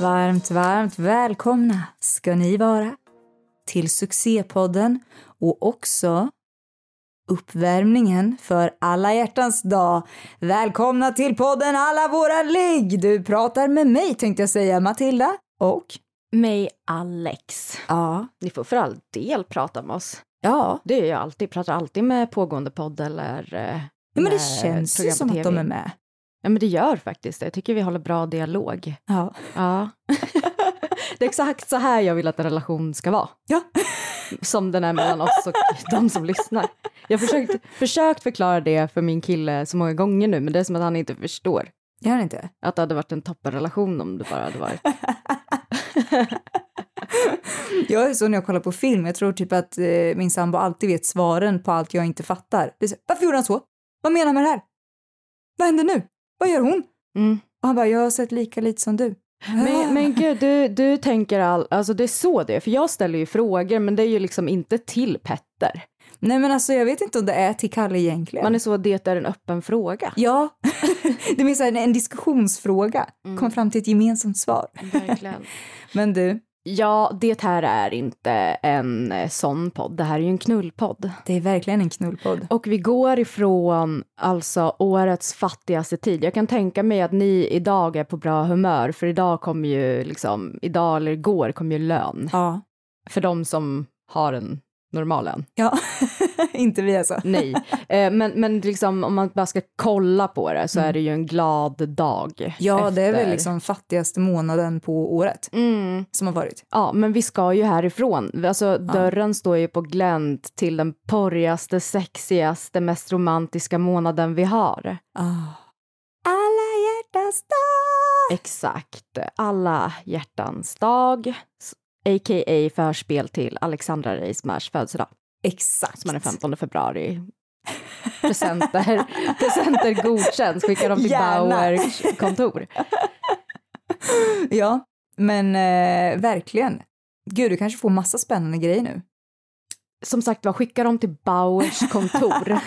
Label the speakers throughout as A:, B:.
A: Varmt, varmt välkomna ska ni vara till succépodden och också uppvärmningen för alla hjärtans dag. Välkomna till podden Alla våra ligg! Du pratar med mig tänkte jag säga, Matilda och
B: mig Alex.
A: ja,
B: Ni får för all del prata med oss.
A: ja.
B: Det gör jag alltid, pratar alltid med pågående podd eller... eh,
A: Ja, men det
B: med
A: känns ju
B: program på
A: som att de
B: TV.
A: är med.
B: Ja men det gör faktiskt det. Jag tycker vi håller bra dialog.
A: Ja.
B: Ja. det är exakt så här jag vill att en relation ska vara.
A: Ja.
B: Som den är mellan oss och de som lyssnar. Jag har försökt, försökt förklara det för min kille så många gånger nu men det är som att han inte förstår.
A: Gör ni inte?
B: Att det hade varit en toppenrelation om det bara hade varit.
A: Jag är så när jag kollar på film, jag tror typ att eh, min sambo alltid vet svaren på allt jag inte fattar. Det är så, Varför gjorde han så? Vad menar han med det här? Vad händer nu? Vad gör hon?
B: Mm.
A: Och han bara, jag har sett lika lite som du.
B: Men, men gud, du, du tänker all, alltså det är så det är, för jag ställer ju frågor men det är ju liksom inte till Petter.
A: Nej men alltså jag vet inte om det är till Kalle egentligen.
B: Man är så, det är en öppen fråga.
A: Ja, det är mer så här, en diskussionsfråga.
B: Mm.
A: Kom fram till ett gemensamt svar.
B: Verkligen.
A: Men du,
B: Ja, det här är inte en eh, sån podd, det här är ju en knullpodd.
A: det är verkligen en knullpodd.
B: Och vi går ifrån alltså årets fattigaste tid. Jag kan tänka mig att ni idag är på bra humör för idag kommer ju liksom, idag eller igår kom ju lön
A: Ja.
B: för de som har en normal lön.
A: Ja, inte vi alltså.
B: Nej, eh, men, men liksom, om man bara ska kolla på det så är det ju en glad dag.
A: Mm. Ja, det är väl
B: efter.
A: liksom fattigaste månaden på året
B: Mm.
A: som har varit.
B: Ja, men vi ska ju härifrån. Alltså, Dörren står ju på glänt till den porrigaste, sexigaste, mest romantiska månaden vi har.
A: Alla hjärtans dag!
B: Exakt. Alla hjärtans dag, s- a.k.a. förspel till Alexandra Reismers födelsedag,
A: Exakt.
B: som är den 15 februari. Presenter, presenter godkänns, skickar de till
A: Gärna.
B: Bauers kontor.
A: Ja, men eh, verkligen. Gud, du kanske får massa spännande grejer nu.
B: som sagt var, skicka dem till Bauers kontor.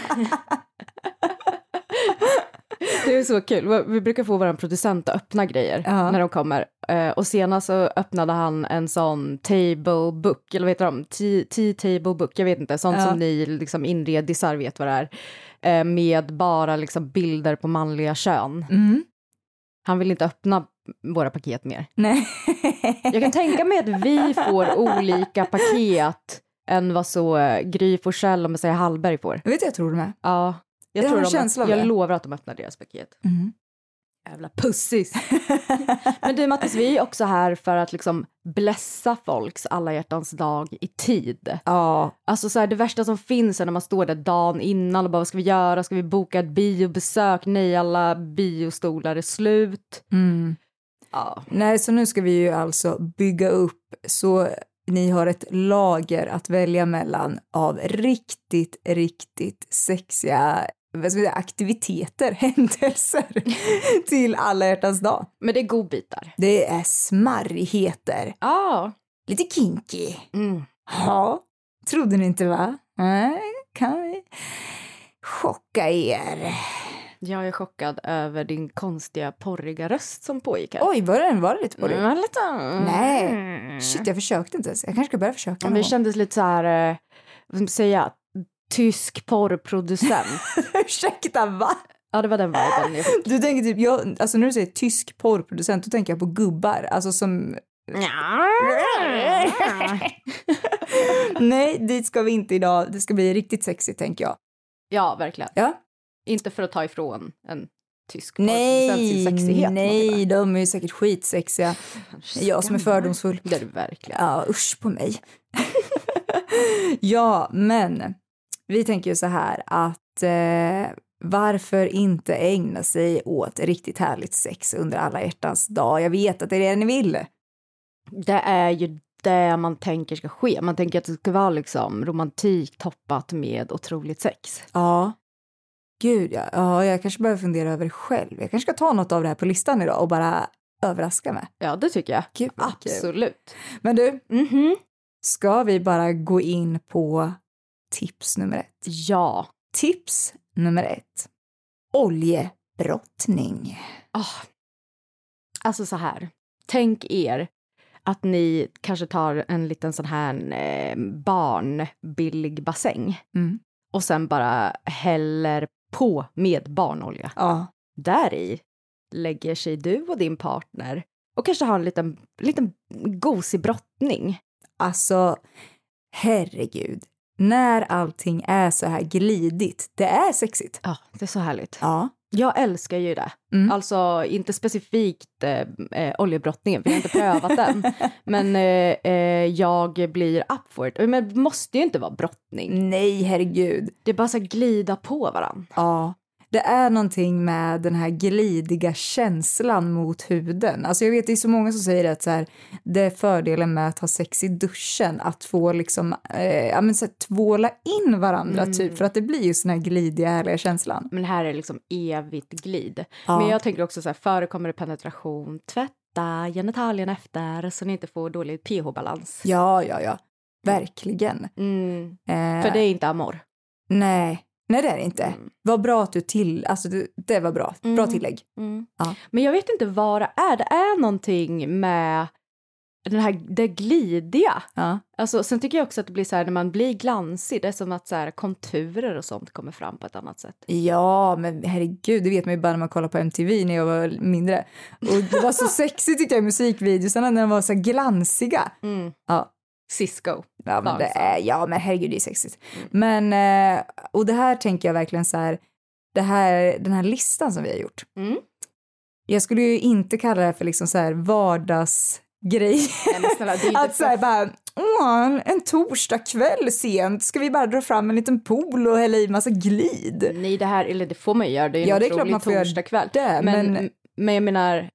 B: Det är så kul. Vi brukar få vår producent att öppna grejer
A: Ja.
B: när de kommer. Eh, Och senast så öppnade han en sån table book, eller vad heter de? Tea- Tea table book, jag vet inte. Sånt
A: Ja.
B: som ni liksom inredisar vet vad det är. Eh, Med bara liksom bilder på manliga kön.
A: Mm.
B: Han vill inte öppna våra paket mer.
A: Nej.
B: Jag kan tänka mig att vi får olika paket än vad så eh, Gry Forssell och Messiah Hallberg får.
A: Jag vet jag tror det med.
B: Ja, jag,
A: Jag har
B: tror
A: en
B: de
A: känsla av
B: jag
A: det.
B: lovar att de öppnar deras paket.
A: Mm.
B: Jävla pussis! Men du Mattis, vi är också här för att liksom blessa folks alla hjärtans dag i tid.
A: Ja,
B: Alltså så här, det värsta som finns är när man står där dagen innan och bara vad ska vi göra, ska vi boka ett biobesök, nej alla biostolar är slut.
A: mm.
B: Ja.
A: Nej, så nu ska vi ju alltså bygga upp så ni har ett lager att välja mellan av riktigt, riktigt sexiga vad ska vi säga, aktiviteter, händelser till alla hjärtans dag.
B: Men det är godbitar.
A: Det är smarrigheter,
B: Ja.
A: lite kinky.
B: Mm.
A: Ja, trodde ni inte va? Nej, kan vi chocka er.
B: Jag är chockad över din konstiga porriga röst som pågick här.
A: Oj, var den var det lite på dig?
B: Mm, lite. Mm.
A: Nej. Shit, jag försökte inte ens. Jag kanske ska börja försöka
B: Ja, men
A: någon
B: det kändes lite så här, eh, vad ska man säga, tysk porrproducent.
A: gång. Ursäkta, va?
B: ja, det var den viben jag fick.
A: Du tänker typ, jag, alltså när du säger tysk porrproducent, då tänker jag på gubbar, alltså som... Nej, dit ska vi inte idag. Det ska bli riktigt sexigt, tänker jag.
B: Ja, verkligen.
A: Ja.
B: Inte för att ta ifrån en tysk porrproducent sin
A: Nej,
B: sexighet.
A: nej, de är ju säkert skitsexiga.
B: Matilda.
A: Jag som är fördomsfull.
B: Det är du verkligen.
A: Ja, usch på mig. ja, men vi tänker ju så här att eh, varför inte ägna sig åt riktigt härligt sex under alla hjärtans dag? Jag vet att det är det ni vill.
B: Det är ju det man tänker ska ske. Man tänker att det ska vara liksom romantik toppat med otroligt sex.
A: Ja. Gud, ja, ja, jag kanske behöver fundera över det själv. Jag kanske ska ta något av det här på listan idag och bara överraska mig.
B: Ja, det tycker jag.
A: Gud, vad kul.
B: Absolut.
A: Men du,
B: Mhm.
A: ska vi bara gå in på tips nummer ett?
B: Ja.
A: Tips nummer ett. Oljebrottning.
B: Ah. Alltså så här. Tänk er att ni kanske tar en liten sån här eh, barnbillig bassäng
A: Mm.
B: och sen bara häller på med barnolja.
A: Ja.
B: Där i lägger sig du och din partner och kanske har en liten, liten gosig brottning.
A: Alltså, herregud. När allting är så här glidigt, det är sexigt.
B: Ja, det är så härligt.
A: Ja.
B: Jag älskar ju det.
A: Mm.
B: Alltså inte specifikt eh, eh, oljebrottningen, för jag har inte prövat den. Men eh, eh, jag blir up for it. Men det måste ju inte vara brottning.
A: Nej, herregud.
B: Det är bara så här glida på varann.
A: Ja. Det är någonting med den här glidiga känslan mot huden. Alltså jag vet, det är så många som säger det att så här, det är fördelen med att ha sex i duschen, att få liksom, eh, ja men så här, tvåla in varandra typ, för att det blir ju sån här glidiga, härliga känslan.
B: Men här är liksom evigt glid.
A: Ja.
B: Men jag tänker också så här, förekommer det penetration, tvätta genitalien efter så ni inte får dålig pH-balans.
A: Ja, ja, ja. Verkligen.
B: Mm.
A: Eh,
B: För det är inte amor.
A: Nej, nej det är det inte.
B: Mm.
A: Vad bra att du till, alltså det, det var bra, bra
B: Mm.
A: tillägg. Ja.
B: Men jag vet inte vad det är. Det är någonting med den här, det glidiga.
A: Ja.
B: Alltså, sen tycker jag också att det blir så här när man blir glansig, det är som att så här, konturer och sånt kommer fram på ett annat sätt.
A: Ja, men herregud, det vet man ju bara när man kollar på MTV när jag var mindre. Och det var så sexigt tyckte jag i musikvideosarna när de var så här glansiga. Ja.
B: Cisco.
A: Ja men, det
B: Barnsam.
A: är, ja, men herregud, det är sexigt. Men, eh, och det här tänker jag verkligen så här, det här, den här listan som vi har gjort.
B: Mm.
A: Jag skulle ju inte kalla det här för liksom så här vardagsgrej.
B: Nej, men snälla, det är ju inte
A: Att så här bara, åh, en torsdag kväll sent, ska vi bara dra fram en liten pool och hälla i massa glid?
B: Nej, det här, eller det får man ju göra, det är ju
A: Ja,
B: en
A: det är klart
B: otrolig
A: man får göra
B: torsdagskväll.
A: det,
B: men,
A: men-
B: men... jag menar,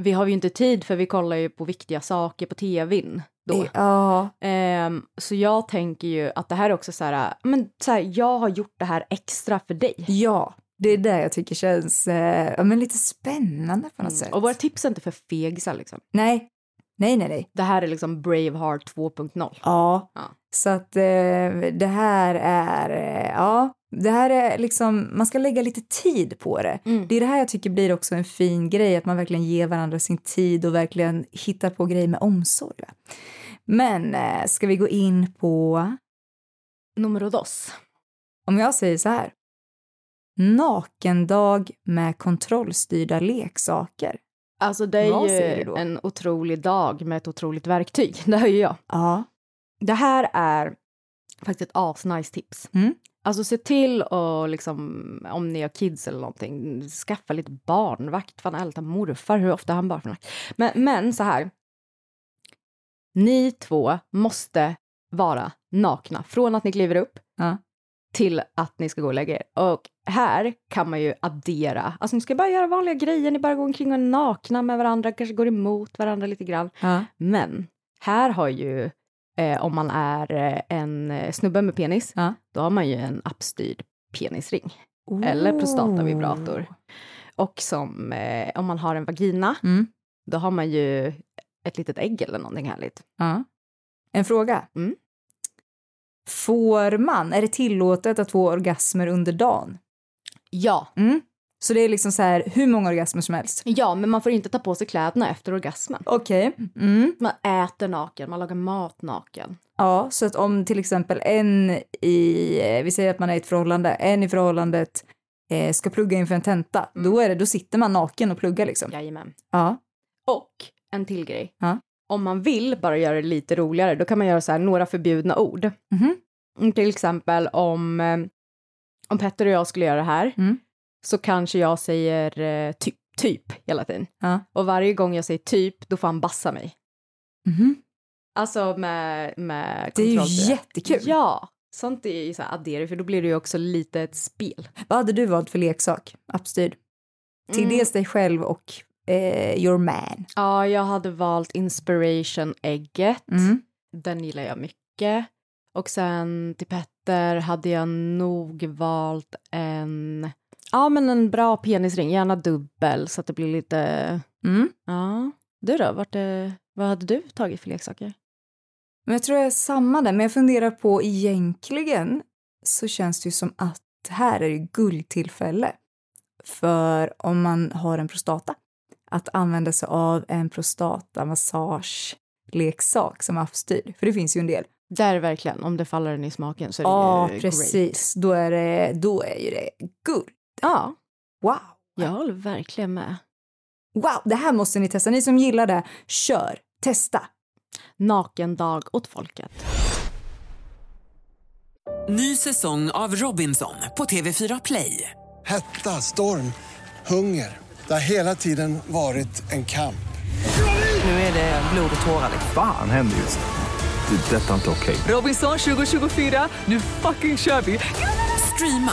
B: vi har ju inte tid för vi kollar ju på viktiga saker på tvn då.
A: Ja,
B: Ehm, så jag tänker ju att det här är också så här, men så här, jag har gjort det här extra för dig.
A: ja, det är det jag tycker känns eh, ja, men lite spännande på något sätt.
B: Mm. Och våra tips är inte för fegisar liksom.
A: Nej, nej, nej, nej.
B: Det här är liksom Braveheart 2.0.
A: Ja.
B: Ja.
A: Så att eh, det här är, eh, ja, det här är liksom, man ska lägga lite tid på det.
B: Mm.
A: Det är det här jag tycker blir också en fin grej, att man verkligen ger varandra sin tid och verkligen hittar på grejer med omsorg. Va? Men eh, ska vi gå in på
B: Numero dos.
A: Om jag säger så här. Nakendag med kontrollstyrda leksaker.
B: Alltså det är
A: Vad säger du
B: ju
A: då?
B: en otrolig dag med ett otroligt verktyg, det hör ju jag.
A: Ja.
B: Det här är faktiskt ett asnice tips.
A: Mm.
B: Alltså se till att liksom, om ni har kids eller någonting, skaffa lite barnvakt. Fan ärligt, morfar, hur ofta har han barnvakt? Men, men så här. Ni två måste vara nakna från att ni kliver upp
A: Ja.
B: till att ni ska gå och lägga er. Och här kan man ju addera. Alltså ni ska bara göra vanliga grejer, ni bara går omkring och är nakna med varandra, kanske går emot varandra lite grann.
A: ja.
B: Men här har ju, eh, om man är eh, en eh, snubbe med penis,
A: Ja.
B: då har man ju en appstyrd penisring eller prostatavibrator. Och som, eh, om man har en vagina,
A: Mm.
B: då har man ju ett litet ägg eller någonting härligt.
A: Ja. En fråga.
B: Mm.
A: Får man, är det tillåtet att få orgasmer under dagen?
B: Ja,
A: Mm. Så det är liksom så här hur många orgasmer som helst?
B: ja, men man får inte ta på sig kläderna efter orgasmen.
A: Okej. Mm.
B: Man äter naken, man lagar mat naken.
A: Ja, så att om till exempel en i, eh, vi säger att man är i ett förhållande, en i förhållandet eh, ska plugga inför en tenta, då, är det, då sitter man naken och pluggar liksom.
B: Jajamän.
A: Mm. Ja.
B: Och en till grej.
A: Ja.
B: Om man vill bara göra det lite roligare, då kan man göra så här några förbjudna ord.
A: Mhm.
B: Mm, Till exempel om, eh, om Petter och jag skulle göra det här,
A: Mm.
B: så kanske jag säger eh, typ, typ hela tiden.
A: Ja.
B: Och varje gång jag säger typ, då får han bassa mig.
A: Mhm.
B: Alltså med, med
A: Det är ju
B: kontrollsyra.
A: jättekul.
B: Ja, Sånt är ju så här addera, för då blir det ju också lite ett spel.
A: Vad hade du valt för leksak, appstyrd? Till
B: Mm.
A: dels dig själv och eh, your man.
B: Ja, jag hade valt Inspiration-ägget.
A: Mm.
B: Den gillar jag mycket. Och sen till Petter hade jag nog valt en... Ja, men en bra penisring, gärna dubbel så att det blir lite...
A: Mm.
B: Ja. Du då, vart, eh, vad hade du tagit för leksaker?
A: Men jag tror jag är samma där, men jag funderar på egentligen så känns det ju som att här är det guldtillfälle för om man har en prostata. Att använda sig av en prostatamassage-leksak som appstyrd, för det finns ju en del.
B: Där verkligen, om det faller en i smaken så är det
A: Ja,
B: ju great.
A: precis. Då är, det, då är ju det guld.
B: Ja,
A: Wow!
B: jag håller verkligen med.
A: Wow, det här måste ni testa. Ni som gillar det, kör, testa.
B: Naken dag åt folket.
C: Ny säsong av Robinson på TV4 Play.
D: Hetta, storm, hunger. Det har hela tiden varit en kamp.
C: Nu är det blod och tårar. liksom.
E: Fan händer just nu. Det. är Detta är inte okej.
C: Robinson 2024, nu fucking kör vi! Streama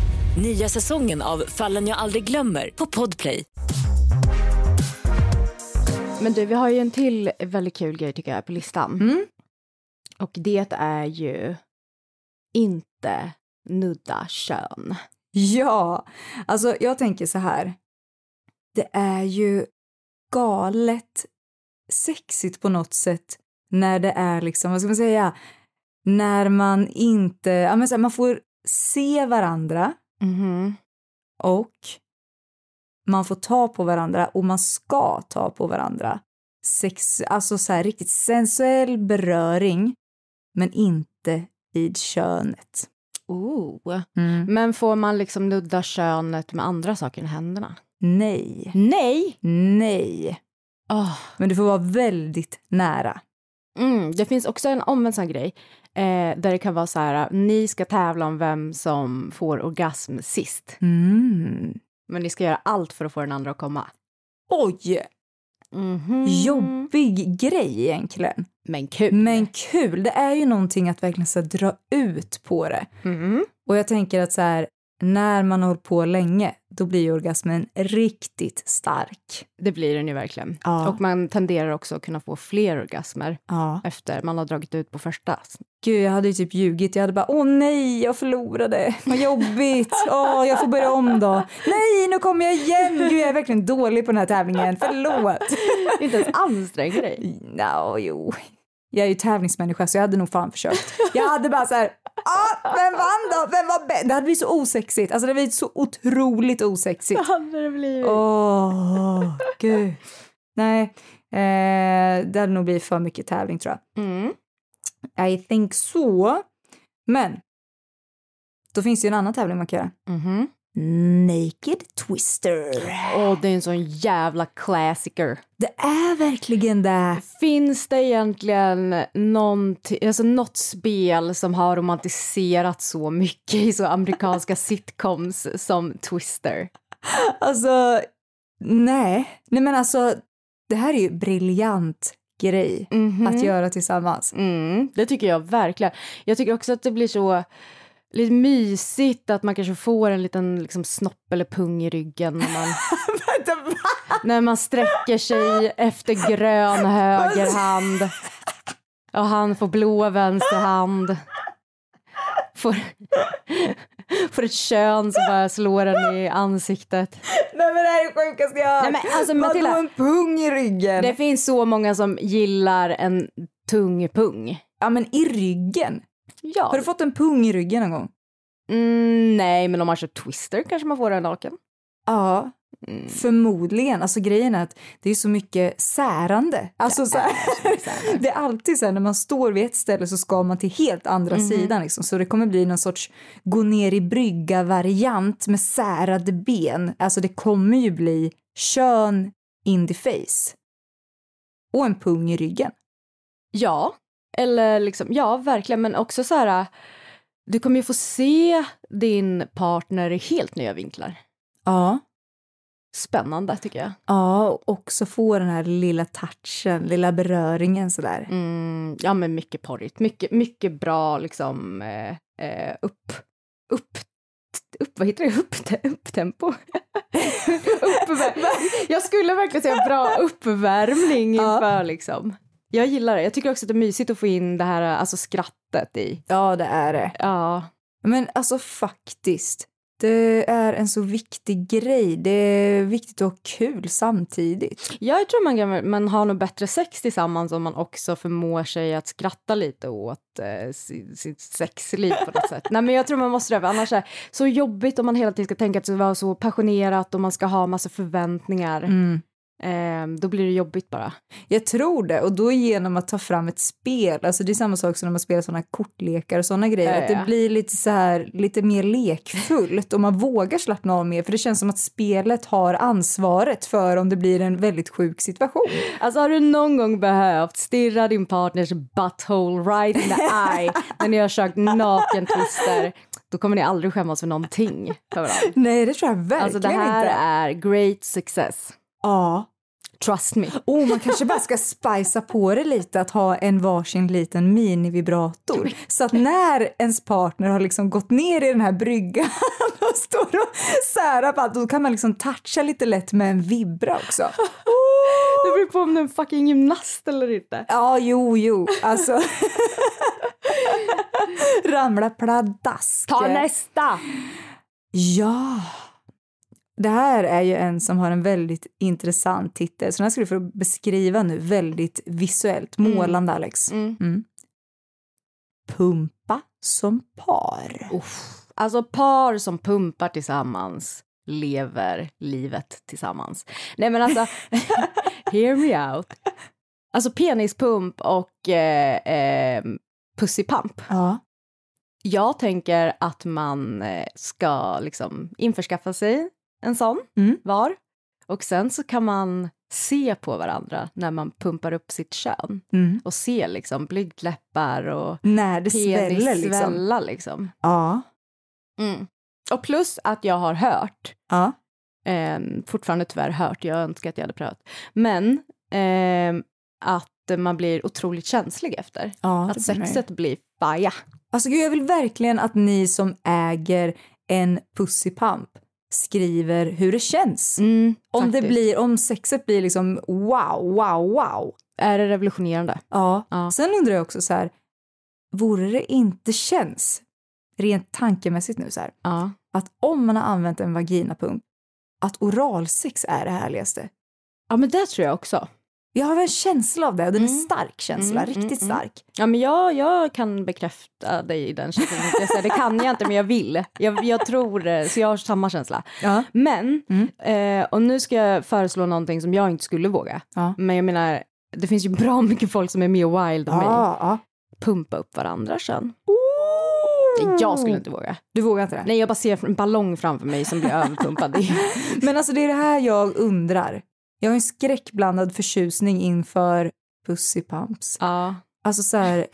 F: Nya säsongen av Fallen jag aldrig glömmer på Podplay.
B: Men du, vi har ju en till väldigt kul grej tycker jag på listan. Och det är ju inte nudda kön.
A: Ja, alltså jag tänker så här. Det är ju galet sexigt på något sätt när det är liksom, vad ska man säga, när man inte, ja men så här, man får se varandra
B: Mm.
A: och man får ta på varandra och man ska ta på varandra. Sex, alltså så här riktigt sensuell beröring men inte vid könet.
B: Oh.
A: Mm.
B: Men får man liksom nudda könet med andra saker än händerna?
A: Nej.
B: Nej!
A: Nej.
B: Oh.
A: Men du får vara väldigt nära.
B: Mm. Det finns också en omvänd sån grej eh, där det kan vara så här, ni ska tävla om vem som får orgasm sist.
A: Mm.
B: Men ni ska göra allt för att få den andra att komma.
A: Oj!
B: Mhm.
A: Mm. Jobbig grej egentligen.
B: Men kul.
A: Men kul. Det är ju någonting att verkligen så här, dra ut på det.
B: Mhm.
A: Och jag tänker att så här, när man har hållit på länge, då blir ju orgasmen riktigt stark.
B: Det blir den ju verkligen.
A: Ja.
B: Och man tenderar också att kunna få fler orgasmer
A: Ja.
B: efter man har dragit ut på första.
A: Gud, jag hade ju typ ljugit. Jag hade bara, åh nej, jag förlorade. Vad jobbigt. Åh, jag får börja om då. Nej, nu kommer jag igen. Gud, jag är verkligen dålig på den här tävlingen. Förlåt.
B: Inte ens anstränger dig.
A: Ja, jo. Jag är ju tävlingsmänniska så jag hade nog fan försökt. Jag hade bara så här, ah, vem vann då? Vem var bäst? Det hade blivit så osexigt. Alltså det hade blivit så otroligt osexigt.
B: hade det blivit.
A: Åh, gud. Nej, eh, det hade nog blivit för mycket tävling tror
B: Mm.
A: jag. I think so. Men, då finns det ju en annan tävling man kan göra.
B: Mhm.
A: Naked Twister.
B: Åh, det är en sån jävla klassiker.
A: Det är verkligen det.
B: Finns det egentligen någon, alltså något spel som har romantiserat så mycket i så amerikanska sitcoms som Twister?
A: Alltså, nej. Nej men alltså, det här är ju briljant grej att göra tillsammans.
B: Mhm. Mm, det tycker jag verkligen. Jag tycker också att det blir så lite mysigt att man kanske får en liten liksom, snopp eller pung i ryggen när man, när man sträcker sig efter grön höger hand och han får blå vänster hand. Får, får ett kön som bara slår en i ansiktet.
A: Nej men det här är det sjukaste jag har
B: Nej, men alltså,
A: Man
B: Matilda-
A: får en pung i ryggen.
B: Det finns så många som gillar en tung pung.
A: Ja men i ryggen.
B: Ja.
A: Har du fått en pung i ryggen någon gång?
B: Mm, nej, men om man kör Twister kanske man får en naken.
A: Ja. Förmodligen. Alltså grejen är att det är så mycket särande. Alltså, så här, det är alltid så här, när man står vid ett ställe så ska man till helt andra sidan. Liksom. Så det kommer bli någon sorts gå ner i brygga-variant med särade ben. Alltså det kommer ju bli kön in the face. Och en pung i ryggen.
B: Ja, eller liksom, ja verkligen, men också så här, du kommer ju få se din partner i helt nya vinklar.
A: Ja.
B: Spännande tycker jag.
A: Ja, och också få den här lilla touchen, lilla beröringen sådär.
B: Mm, ja men mycket porrigt, mycket, mycket bra liksom eh, eh, upp, upp, upp, vad heter det, upp, upptempo? Uppvär- jag skulle verkligen säga bra uppvärmning
A: Ja.
B: inför liksom. Jag gillar det, jag tycker också att det är mysigt att få in det här alltså skrattet i.
A: Ja, det är det.
B: Ja,
A: Men alltså faktiskt, det är en så viktig grej. Det är viktigt att ha kul samtidigt.
B: jag tror man, kan, man har nog bättre sex tillsammans om man också förmår sig att skratta lite åt eh, si- sitt sexliv på något sätt. Nej men jag tror man måste det, för annars är det så jobbigt om man hela tiden ska tänka att det ska vara så passionerat och man ska ha massa förväntningar.
A: Mm.
B: Eh, då blir det jobbigt bara.
A: Jag tror det, och då genom att ta fram ett spel, alltså det är samma sak som när man spelar sådana kortlekar och sådana grejer,
B: Ja, ja,
A: att det
B: ja.
A: blir lite så här, lite mer lekfullt och man vågar slappna av mer för det känns som att spelet har ansvaret för om det blir en väldigt sjuk situation.
B: Alltså har du någon gång behövt stirra din partners butthole right in the eye när ni har kört naken twister? Då kommer ni aldrig skämmas för någonting för varandra.
A: Nej, det tror jag verkligen
B: Alltså det här
A: inte.
B: är great success.
A: Ja.
B: Trust me.
A: Oh, man kanske bara ska spicea på det lite att ha en varsin liten minivibrator. Så att när ens partner har liksom gått ner i den här bryggan och står och särar på allt, då kan man liksom toucha lite lätt med en vibra också.
B: Det beror på om du är en fucking gymnast eller inte.
A: Ja, jo, jo, alltså. Ramla pladask.
B: Ta nästa!
A: Ja. Det här är ju en som har en väldigt intressant titel. Så den här ska du få beskriva nu väldigt visuellt, målande Alex.
B: Mm.
A: Pumpa som par.
B: Uff. Alltså par som pumpar tillsammans lever livet tillsammans. Nej men alltså, hear me out. Alltså penispump och eh, eh, pussypump.
A: Ja.
B: Jag tänker att man eh, ska liksom införskaffa sig en sån
A: Mm.
B: var och sen så kan man se på varandra när man pumpar upp sitt kön
A: Mm.
B: och se liksom blygt läppar och
A: När det
B: penis
A: sväller liksom.
B: svälla liksom. Mm.
A: Ja.
B: Och plus att jag har hört,
A: ja.
B: ehm, fortfarande tyvärr hört, jag önskar att jag hade prövat, men ehm, att man blir otroligt känslig efter.
A: ja det
B: att
A: blir det.
B: sexet blir baja.
A: Alltså gud, jag vill verkligen att ni som äger en pussypump skriver hur det känns. om, det
B: Mm, faktiskt.
A: blir, om sexet blir liksom wow, wow, wow.
B: Är det revolutionerande?
A: Ja.
B: Ja.
A: Sen undrar jag också så här, vore det inte känns, rent tankemässigt nu så här,
B: Ja.
A: att om man har använt en vaginapump, att oralsex är det härligaste.
B: Ja, men det tror jag också.
A: Jag har en känsla av det och den är
B: Mm.
A: stark känsla,
B: Mm, mm,
A: riktigt
B: mm.
A: stark.
B: Ja, men jag, jag kan bekräfta dig i den känslan. Jag säger, Det kan jag inte, men jag vill. Jag, jag tror, eh, så jag har samma känsla.
A: Ja.
B: Men,
A: Mm.
B: eh, och nu ska jag föreslå någonting som jag inte skulle våga.
A: Ja.
B: Men jag menar, det finns ju bra mycket folk som är mer wild än mig.
A: Ja, Mm. ja.
B: Pumpa upp varandra sen. Nej, Jag skulle inte våga.
A: Du vågar inte det?
B: Nej, jag bara ser en ballong framför mig som blir överpumpad. Det-
A: Men alltså det är det här jag undrar. Jag har en skräckblandad förtjusning inför pussypumps.
B: ja.
A: Alltså så här,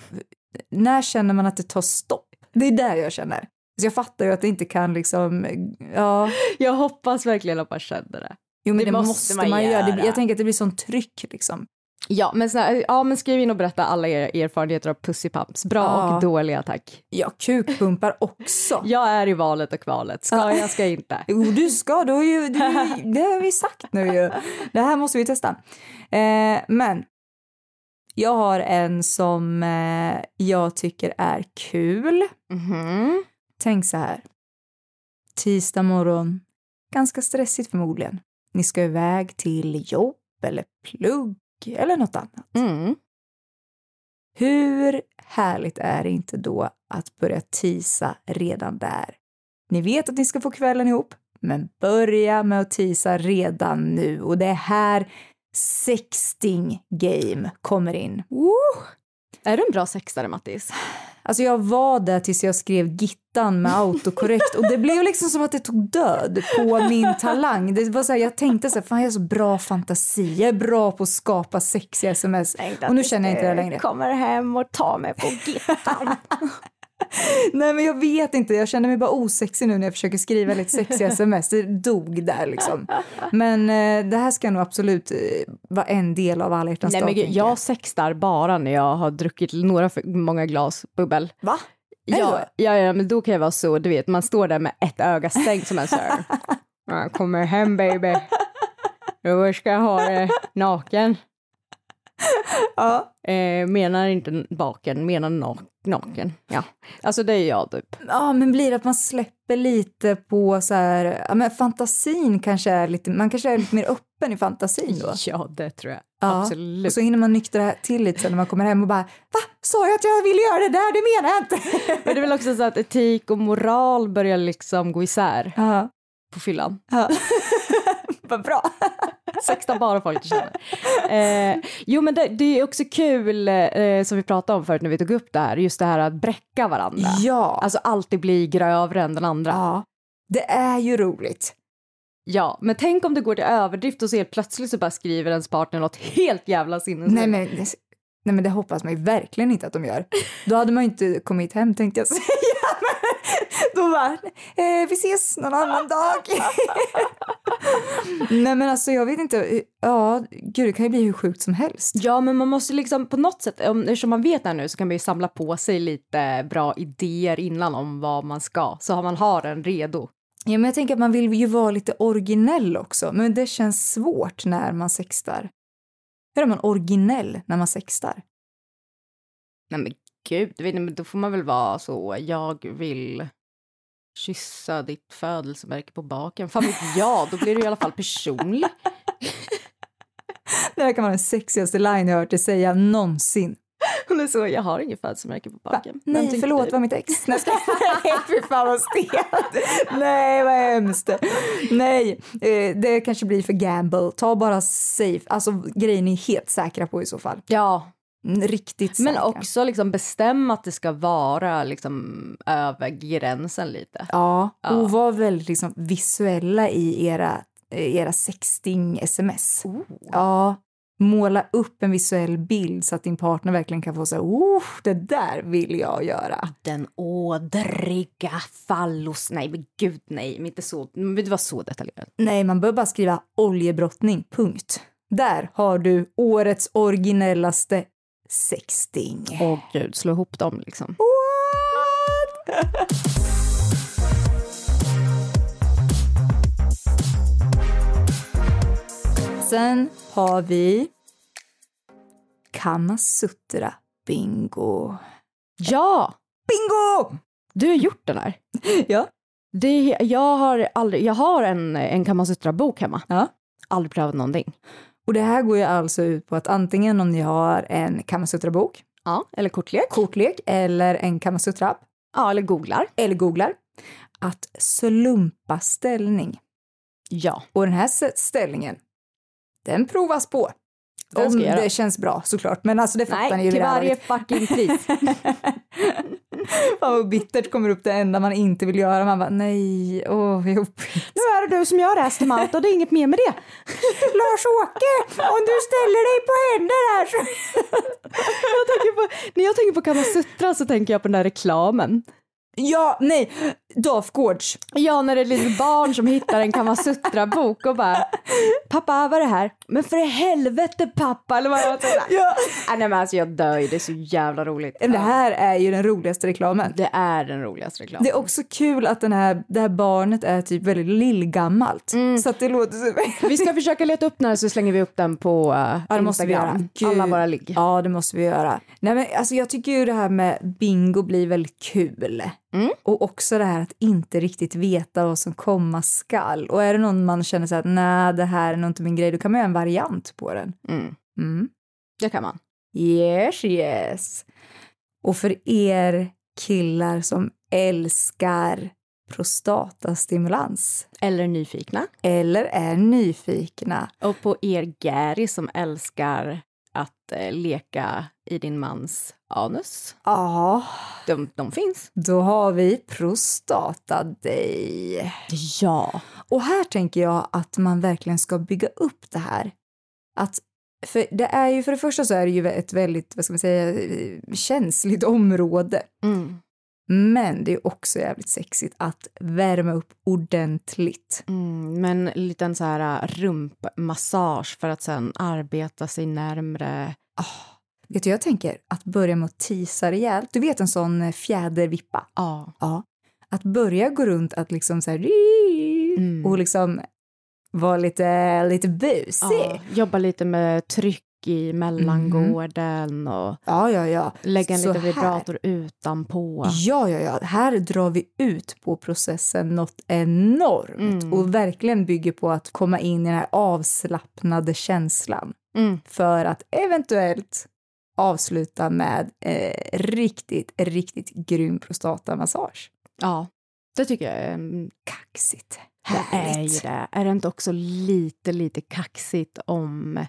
A: när känner man att det tar stopp? Det är där jag känner. Så jag fattar ju att det inte kan liksom, ja.
B: Jag hoppas verkligen att man känner det.
A: Jo men det,
B: Det
A: måste,
B: måste
A: man,
B: man
A: ju göra. Det,
B: göra.
A: jag tänker att det blir sån tryck liksom.
B: Ja, men, såna, ja, men skriv in och berätta alla era erfarenheter av pussypumps. Bra
A: Ja.
B: och dåliga, tack.
A: Ja, kukpumpar också.
B: Jag är i valet och kvalet. Ska
A: Ja.
B: jag, ska jag inte?
A: Jo, du ska. Du har ju, du, det har vi sagt nu ju. Det här måste vi testa. Eh, men jag har en som eh, jag tycker är kul. Mm.
B: Mhm.
A: Tänk så här. Tisdag morgon. Ganska stressigt förmodligen. Ni ska iväg till jobb eller plugg eller något annat.
B: Mm.
A: Hur härligt är det inte då att börja tisa redan där? Ni vet att ni ska få kvällen ihop, Men börja med att tisa redan nu och det är här sexting game kommer in.
B: Woo! Är du en bra sexare, Mattis?
A: Alltså jag var där tills jag skrev Gittan med autokorrekt och det blev liksom som att det tog död på min talang. Det var så här, jag tänkte så här, fan jag har så bra fantasi, jag är bra på att skapa sexiga sms och nu känner jag inte det längre.
B: kommer hem och tar mig på gittan.
A: Nej men jag vet inte, jag känner mig bara osexig nu när jag försöker skriva lite sexiga sms. Det dog där liksom. Men eh, det här ska nog absolut eh, vara en del av alla hjärtans
B: Nej,
A: dag.
B: men gud,
A: tänker jag.
B: jag sextar bara när jag har druckit några för många glas bubbel.
A: Va? Är
B: Ja,
A: det
B: ja, ja, men då kan jag vara så, du vet, man står där med ett öga stängt som en sir. Jag kommer hem baby. Då ska jag ha det naken.
A: Ja.
B: Eh, menar inte baken, menar na- naken. Ja, alltså det är jag typ.
A: Ja, men blir det att man släpper lite på så här, ja men fantasin kanske är lite, man kanske är lite mer öppen i fantasin då.
B: Ja, det tror jag.
A: Ja.
B: Absolut.
A: Och så hinner man nyktra till lite sen när man kommer hem och bara, va? Sa jag att jag ville göra det där? Det menar jag inte.
B: Men det är väl också så att etik och moral börjar liksom gå isär
A: Ja.
B: på fyllan.
A: ja. Vad bra.
B: Sexta bara folk du känner. Eh, jo men det, det är också kul eh, som vi pratade om förut när vi tog upp det här, just det här att bräcka varandra.
A: Ja.
B: Alltså alltid bli grövre än den andra. Ja.
A: ja. Det är ju roligt.
B: men tänk om det går till överdrift och så helt plötsligt så bara skriver ens partner något helt jävla sinnessjukt.
A: Nej men, nej men det hoppas man ju verkligen inte att de gör. Då hade man ju inte kommit hem tänkte jag säga. Men då bara, eh, vi ses någon annan dag. nej men alltså jag vet inte, ja gud det kan ju bli hur sjukt som helst.
B: Ja, men man måste liksom på något sätt, om, eftersom man vet det här nu så kan man ju samla på sig lite bra idéer innan om vad man ska, så har man har den redo.
A: Ja men jag tänker att man vill ju vara lite originell också, men det känns svårt när man sextar. Hur är man originell när man sextar?
B: Nej men gud, vet ni, men då får man väl vara så, jag vill kyssa ditt födelsemärke på baken. Fan vet jag, då blir du i alla fall personlig.
A: Det här kan vara den sexigaste line jag har hört dig säga någonsin.
B: Hon är så, jag har inget födelsemärke på
A: Va?
B: baken. Vem
A: Nej,
B: tyckte
A: förlåt,
B: du?
A: var mitt ex. Nej, ska... Nej, fy fan vad stelt. Nej, vad hemskt. Nej, eh, det kanske blir för gamble. Ta bara safe. Alltså grejer ni är helt säkra på i så fall.
B: Ja,
A: Mm, Riktigt
B: men
A: säkra.
B: också liksom bestämma att det ska vara liksom över gränsen lite.
A: Ja,
B: Ja.
A: och var väldigt liksom visuella i era, eh, era sexting-sms.
B: Oh.
A: Ja, måla upp en visuell bild så att din partner verkligen kan få säga oh, det där vill jag göra.
B: Den ådriga fallos... Nej, men gud nej, men inte så. Men det var så detaljerat.
A: Nej, man bör bara skriva oljebrottning, punkt. Där har du årets originellaste sexting.
B: Åh gud, slå ihop dem liksom.
A: Sen har vi Kamasutra Bingo.
B: Ja!
A: Bingo!
B: Du har gjort den här.
A: Ja.
B: Det, jag har, aldrig, jag har en, en Kamasutra-bok hemma.
A: Ja.
B: Aldrig prövat någonting.
A: Och det här går ju alltså ut på att antingen om ni har en Kamasutra-bok,
B: Ja, eller kortlek.
A: kortlek eller en Kamasutra-app
B: Ja, eller googlar.
A: eller googlar, att slumpa ställning.
B: Ja.
A: Och den här se- ställningen, den provas på.
B: Den ska
A: Om
B: jag göra.
A: det känns bra såklart, men alltså det fattar ni ju vid
B: Nej, till
A: det här
B: varje
A: laget.
B: fucking pris.
A: Fan vad bittert kommer upp det enda man inte vill göra. Man bara nej, åh vad jobbigt.
B: Nu är det du som gör det här Stemalt och det är inget mer med det.
A: Lars-Åke, om du ställer dig på händer här så...
B: Jag tänker på, när jag tänker på Kamasutra så tänker jag på den där reklamen.
A: Ja, nej, Dafgårds.
B: Ja, när det är ett litet barn som hittar en Kamasutra-bok och bara “Pappa, vad är det här?” “Men för helvete pappa!” eller vad det var. Så där.
A: Ja.
B: Nej men alltså jag dör ju, det är så jävla roligt.
A: Det här är ju den roligaste reklamen.
B: Det är den roligaste reklamen.
A: Det är också kul att den här, det här barnet är typ väldigt lillgammalt. Så att det låter så...
B: Vi ska försöka leta upp den här så slänger vi upp den på eh,
A: Ja, det måste vi göra.
B: Instagram.
A: Gud.
B: Alla våra ligg.
A: Ja, det måste vi göra. Nej, men alltså, jag tycker ju det här med bingo blir väldigt kul.
B: Mm.
A: Och också det här att inte riktigt veta vad som komma skall. Och är det någon man känner så här, nej, det här är nog inte min grej, då kan man göra en variant på den.
B: Mm.
A: Mm.
B: Det kan man.
A: Yes, yes. Och för er killar som älskar prostatastimulans
B: Eller nyfikna.
A: eller är nyfikna.
B: Och på er Gary som älskar att eh, leka i din mans anus.
A: Ja,
B: De, de finns.
A: då har vi prostata dig.
B: Ja.
A: Och här tänker jag att man verkligen ska bygga upp det här. Att, för det är ju för det första så är det ju ett väldigt, vad ska man säga, eh, känsligt område.
B: Mm.
A: Men det är ju också jävligt sexigt att värma upp ordentligt.
B: Mm, men en liten så här äh, rumpmassage för att sen arbeta sig närmre.
A: Vet du, jag tänker att börja med att tisa rejält. Du vet en sån eh, fjädervippa?
B: Ja.
A: Ja. Att börja gå runt att liksom så här
B: Mm.
A: och liksom vara lite, lite busig.
B: ja. Jobba lite med tryck i mellangården och
A: Ja, ja, ja.
B: lägga en
A: Mhm. Så
B: liten
A: här.
B: vibrator utanpå.
A: Ja, ja, ja. Här drar vi ut på processen något enormt
B: Mm.
A: och verkligen bygger på att komma in i den här avslappnade känslan
B: Mm.
A: för att eventuellt avsluta med eh, riktigt, riktigt grym prostatamassage.
B: ja. Det tycker jag är mm,
A: Kaxigt.
B: Det är ju
A: Härligt.
B: det. Är det inte också lite, lite kaxigt om,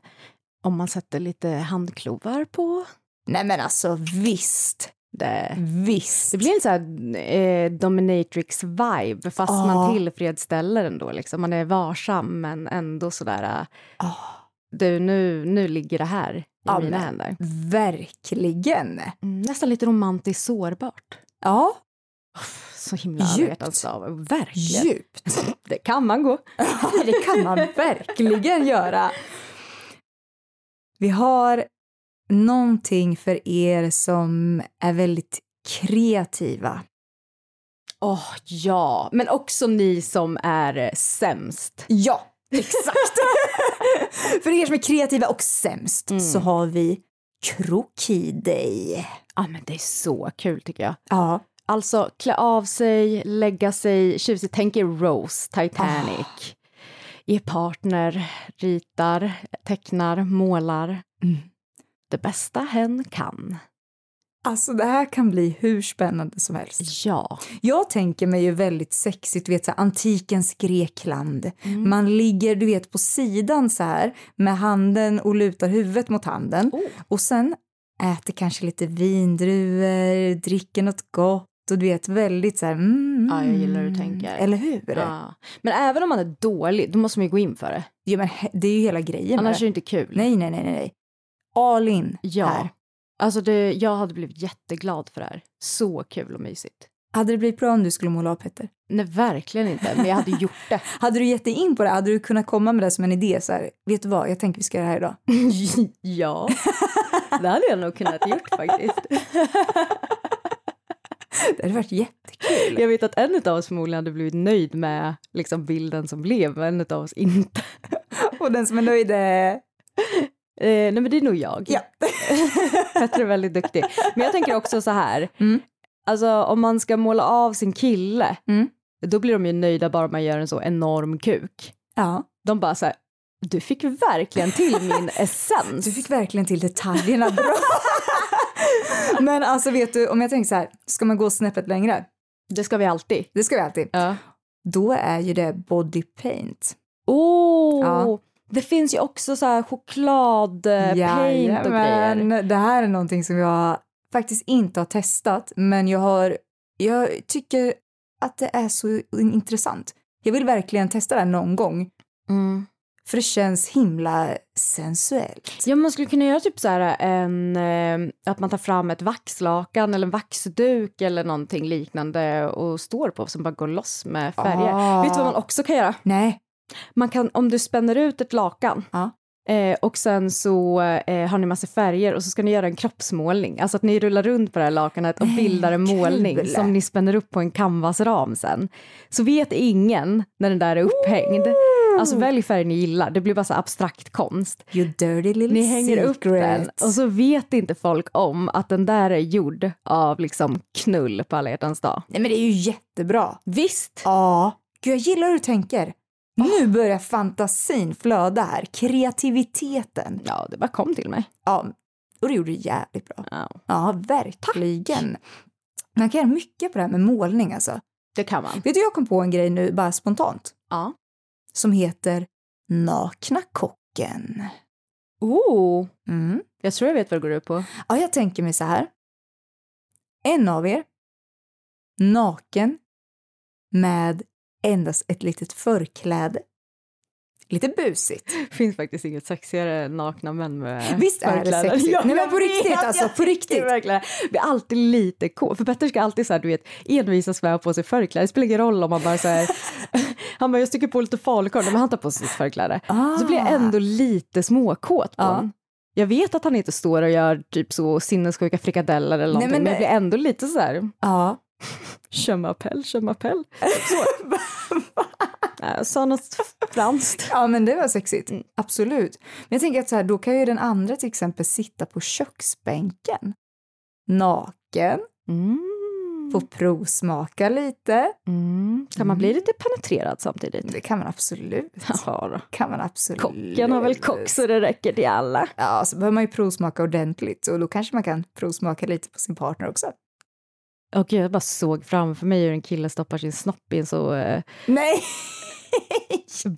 B: om man sätter lite handklovar på?
A: Nej men alltså visst,
B: Det,
A: visst.
B: det blir en så här eh, dominatrix-vibe fast
A: Ja.
B: man tillfredsställer ändå. Liksom. Man är varsam men ändå sådär... eh,
A: Ah,
B: Du, nu, nu ligger det här i
A: Ja,
B: mina
A: men-
B: händer.
A: verkligen.
B: Mm, nästan lite romantiskt sårbart.
A: Ja,
B: Så himla
A: Djupt.
B: arbetats av. Verkligen.
A: djupt.
B: Det kan man gå.
A: det kan man verkligen göra. Vi har någonting för er som är väldigt kreativa.
B: Åh, ja. Men också ni som är eh, sämst.
A: Ja, exakt. för er som är kreativa och sämst
B: Mm.
A: så har vi Krokidej.
B: Ja, men det är så kul tycker jag.
A: Ja,
B: Alltså klä av sig, lägga sig tjusigt. Tänk er Rose, Titanic. Er partner ritar, tecknar, målar. Det bästa hen kan.
A: alltså det här kan bli hur spännande som helst.
B: Ja.
A: Jag tänker mig ju väldigt sexigt, du vet så här, antikens Grekland.
B: Mm.
A: Man ligger, du vet, på sidan så här med handen och lutar huvudet mot handen.
B: Oh,
A: Och sen äter kanske lite vindruvor, dricker något gott och du vet väldigt så här... Mm,
B: Ja, jag gillar hur du tänker.
A: Eller hur? Ja.
B: Ja. Men även om man är dålig, då måste man ju gå in för det.
A: men he- det är ju hela grejen med
B: Annars är det
A: det.
B: inte kul.
A: Nej, nej, nej, nej, nej. All in
B: Ja.
A: här.
B: Alltså det, jag hade blivit jätteglad för det här. Så kul och mysigt.
A: Hade det blivit bra om du skulle måla av Petter?
B: Nej, verkligen inte. Men jag hade gjort det.
A: Hade du gett dig in på det? Hade du kunnat komma med det som en idé så här, vet du vad, jag tänker vi ska göra det här idag?
B: ja, det hade jag nog kunnat gjort faktiskt.
A: Det hade varit jättekul.
B: Jag vet att en av oss förmodligen hade blivit nöjd med liksom, bilden som blev, men en av oss inte.
A: Och den som är nöjd är...
B: Eh, nej, men det är nog jag.
A: Ja.
B: Petter är väldigt duktig. Men jag tänker också så här,
A: Mm.
B: alltså om man ska måla av sin kille,
A: Mm.
B: då blir de ju nöjda bara man gör en så enorm kuk.
A: Ja.
B: De bara så här, du fick verkligen till min essens.
A: Du fick verkligen till detaljerna bra. Men alltså vet du, om jag tänker så här, ska man gå snäppet längre?
B: Det ska vi alltid.
A: Det ska vi alltid.
B: Ja.
A: Då är ju det body paint.
B: Oh,
A: Ja.
B: Det finns ju också så här choklad, eh, paint och grejer.
A: Jajamän, det här är någonting som jag faktiskt inte har testat, men jag har, jag tycker att det är så intressant. Jag vill verkligen testa det här någon gång,
B: Mm.
A: för det känns himla sensuellt.
B: Ja, man skulle kunna göra typ så här en, eh, att man tar fram ett vaxlakan eller en vaxduk eller någonting liknande och står på som bara går loss med färger.
A: Ah.
B: Vet du vad man också kan göra?
A: Nej,
B: Man kan, om du spänner ut ett lakan
A: Ja.
B: eh, och sen så eh, har ni massa färger och så ska ni göra en kroppsmålning, alltså att ni rullar runt på det här lakanet och
A: Nej,
B: bildar en målning
A: kul.
B: som ni spänner upp på en canvasram sen. Så vet ingen när den där är upphängd. Alltså välj färg ni gillar, det blir bara så här abstrakt konst.
A: you dirty little
B: Ni hänger upp den
A: secret.
B: och så vet inte folk om att den där är gjord av liksom knull på alla hjärtans dag.
A: Nej men det är ju jättebra.
B: Visst!
A: Ja. Gud jag gillar hur du
B: Ah.
A: tänker. Nu börjar fantasin flöda här, kreativiteten.
B: Ja, det bara kom till mig.
A: Ja, och det gjorde du jävligt bra.
B: Ja.
A: Ja, verkligen. Man kan göra mycket på det här med målning alltså.
B: Det kan man.
A: Vet du, jag kom på en grej nu bara spontant
B: Ja.
A: som heter Nakna kocken.
B: Oh,
A: Mm.
B: jag tror jag vet vad det går ut på.
A: Ja, jag tänker mig så här. En av er naken med endast ett litet förkläde. Lite busigt.
B: Det finns faktiskt inget sexigare än nakna män med
A: Visst är det
B: förkläden.
A: sexigt?
B: Ja,
A: Nej men
B: jag
A: på riktigt
B: vet,
A: alltså,
B: jag
A: på
B: tycker
A: riktigt.
B: Verkligen. Det är alltid lite cool. För Petter ska alltid så här, du vet, envisas med att ha på sig förkläde. Det spelar ingen roll om han bara så här... han bara, jag sticker på lite falukorv. Men han tar på sig sitt förkläde. Så blir jag ändå lite småkåt på
A: Ah. Ja.
B: honom. Jag vet att han inte står och gör typ så sinnessjuka frikadeller eller någonting,
A: men
B: men,
A: det-
B: jag blir ändå lite så här,
A: Ja.
B: je m'appelle, je m'appelle. Så. Nej, Jag sa något franskt.
A: ja, men det var sexigt. Mm. Absolut. Men jag tänker att så här, då kan ju den andra till exempel sitta på köksbänken. Naken,
B: Mm.
A: få provsmaka lite.
B: Mm. Kan man bli lite penetrerad samtidigt?
A: Det kan man absolut.
B: Ja, då.
A: kan man absolut.
B: Kocken har väl kock så det räcker till alla.
A: Ja, så behöver man ju provsmaka ordentligt och då kanske man kan provsmaka lite på sin partner också.
B: Och jag bara såg framför mig hur en kille stoppar sin snopp i en så eh,
A: Nej!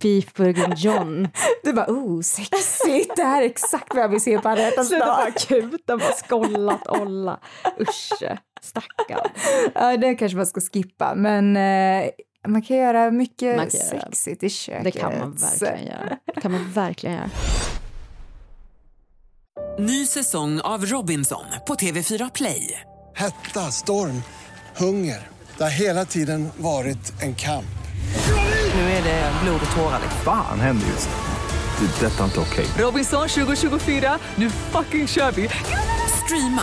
B: beef burger John.
A: Du bara, oh, sexigt, det här är exakt vad jag vill se på alla hjärtans
B: Sluta
A: dag.
B: bara kuta, bara skollat, olla. Usch, stackarn.
A: Ja, det kanske man ska skippa, men eh, man kan göra mycket
B: Man kan göra-
A: sexigt i köket.
B: Det kan man verkligen göra. Det kan man verkligen göra.
C: Ny säsong av Robinson på TV4 Play.
D: Hetta, storm, hunger. Det har hela tiden varit en kamp.
C: Nu är det blod och tårar. liksom.
E: Fan händer just det. Det är detta inte okej.
C: Robinson 2024, nu fucking kör vi! Streama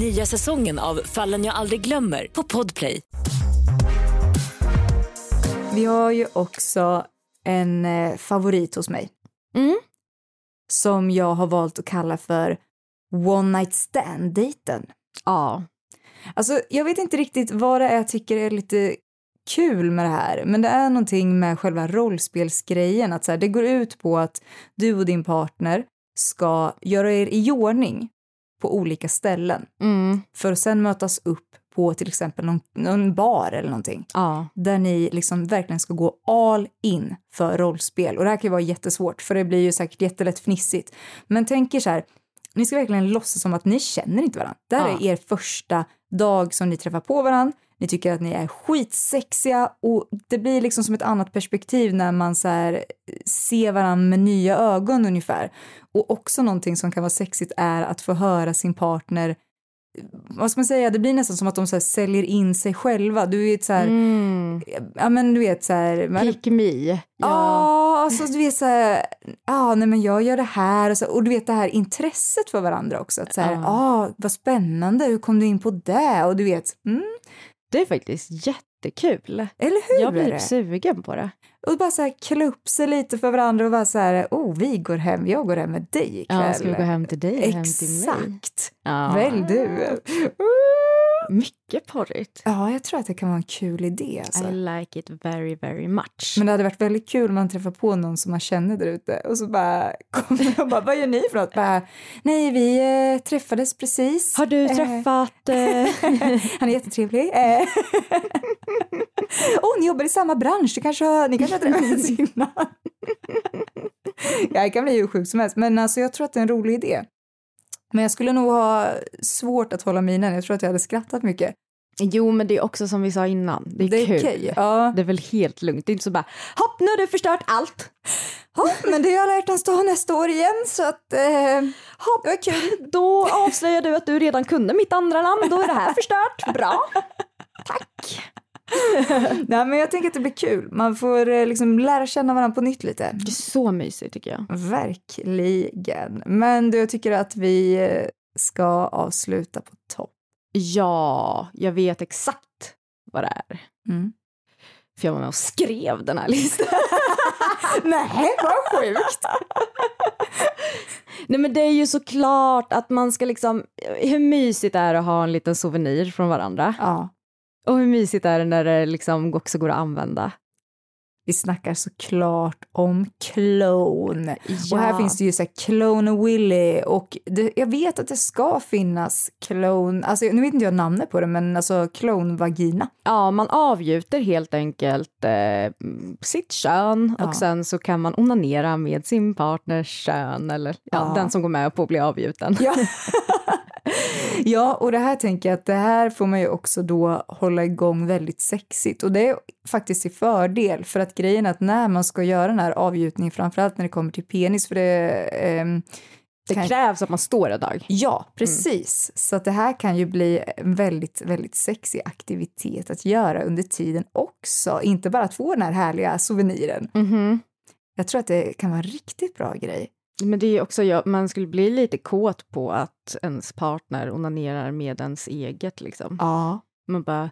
F: Nya säsongen av Fallen jag aldrig glömmer på Podplay.
A: Vi har ju också en eh, favorit hos mig.
B: Mm.
A: Som jag har valt att kalla för one night stand-dejten.
B: Ja.
A: Alltså, jag vet inte riktigt vad det är jag tycker är lite kul med det här, men det är någonting med själva rollspelsgrejen, att så här, det går ut på att du och din partner ska göra er i ordning på olika ställen
B: Mm.
A: för att sen mötas upp på till exempel någon, någon bar eller någonting
B: Ja.
A: där ni liksom verkligen ska gå all in för rollspel. Och det här kan ju vara jättesvårt, för det blir ju säkert jättelätt fnissigt. Men tänk er så här, ni ska verkligen låtsas som att ni känner inte varandra. Det här
B: Ja.
A: är er första dag som ni träffar på varandra. Ni tycker att ni är skitsexiga och det blir liksom som ett annat perspektiv när man så här ser varandra med nya ögon ungefär. Och också någonting som kan vara sexigt är att få höra sin partner vad ska man säga, det blir nästan som att de så här säljer in sig själva. Du är ett så här,
B: Mm.
A: ja men du vet så här, man,
B: Pick me.
A: ja alltså du vet så här, ja nej men jag gör det här och, så, och du vet det här intresset för varandra också att så här, ja
B: Ja.
A: vad spännande, hur kom du in på det och du vet, mm,
B: Det är faktiskt jättekul.
A: eller hur?
B: Jag blir typ sugen på det.
A: Och bara så här klä upp sig lite för varandra och bara så här, oh vi går hem, jag går hem med dig ikväll.
B: Ja, ska vi gå hem till dig? eller Hem till mig?
A: Exakt,
B: Ja.
A: välj du.
B: Mycket porrigt.
A: Ja, jag tror att det kan vara en kul idé alltså.
B: I like it very, very much.
A: Men det hade varit väldigt kul om man träffar på någon som man känner där ute och så bara kommer jag och bara, vad gör ni för något? Bara, Nej, vi eh, träffades precis.
B: Har du
A: Eh,
B: träffat... Eh...
A: Han är jättetrevlig. Eh. oh, ni jobbar i samma bransch, du kanske har, ni kanske har träffats innan. ja, det kan bli hur sjukt som helst, men alltså jag tror att det är en rolig idé. Men jag skulle nog ha svårt att hålla minen, jag tror att jag hade skrattat mycket.
B: Jo, men det är också som vi sa innan. Det är, kul.
A: okej, Ja.
B: Det är väl helt lugnt. Det är inte så bara hopp, nu har du förstört allt.
A: ja, men det är alla hjärtans dag nästa år igen så att eh,
B: Hopp.
A: det var kul.
B: Då avslöjar du att du redan kunde mitt andra namn. Då är det här förstört. Bra.
A: Nej, men jag tänker att det blir kul. Man får eh, liksom lära känna varandra på nytt lite.
B: Det är så mysigt tycker jag.
A: Verkligen. Men du, jag tycker att vi eh, ska avsluta på topp.
B: Ja, jag vet exakt vad det är.
A: Mm.
B: För jag var med och skrev den här listan.
A: Nej, vad sjukt!
B: Nej men det är ju såklart att man ska liksom, hur mysigt är det att ha en liten souvenir från varandra?
A: Ja,
B: Och hur mysigt är det när det liksom också går att använda?
A: vi snackar såklart om klon.
B: Ja.
A: Och här finns det ju så här Clone Willy och det, jag vet att det ska finnas klon, alltså nu vet inte jag namnet på det, men alltså klonvagina.
B: Ja, man avgjuter helt enkelt eh, sitt kön
A: Ja.
B: och sen så kan man onanera med sin partners kön eller ja,
A: Ja.
B: den som går med på att bli avgjuten.
A: Ja. ja, och det här tänker jag att det här får man ju också då hålla igång väldigt sexigt och det är faktiskt till fördel för att grejen är att när man ska göra den här avgjutningen, framförallt när det kommer till penis, för det ehm,
B: Det
A: kan-
B: krävs Mm. att man står ett tag.
A: Ja, precis. Så att det här kan ju bli en väldigt, väldigt sexig aktivitet att göra under tiden också. Inte bara att få den här härliga souveniren. Jag tror att det kan vara en riktigt bra grej.
B: Mm-hmm. Men det är ju också, ja, man skulle bli lite kåt på att ens partner onanerar med ens eget liksom.
A: Ja.
B: Man bara,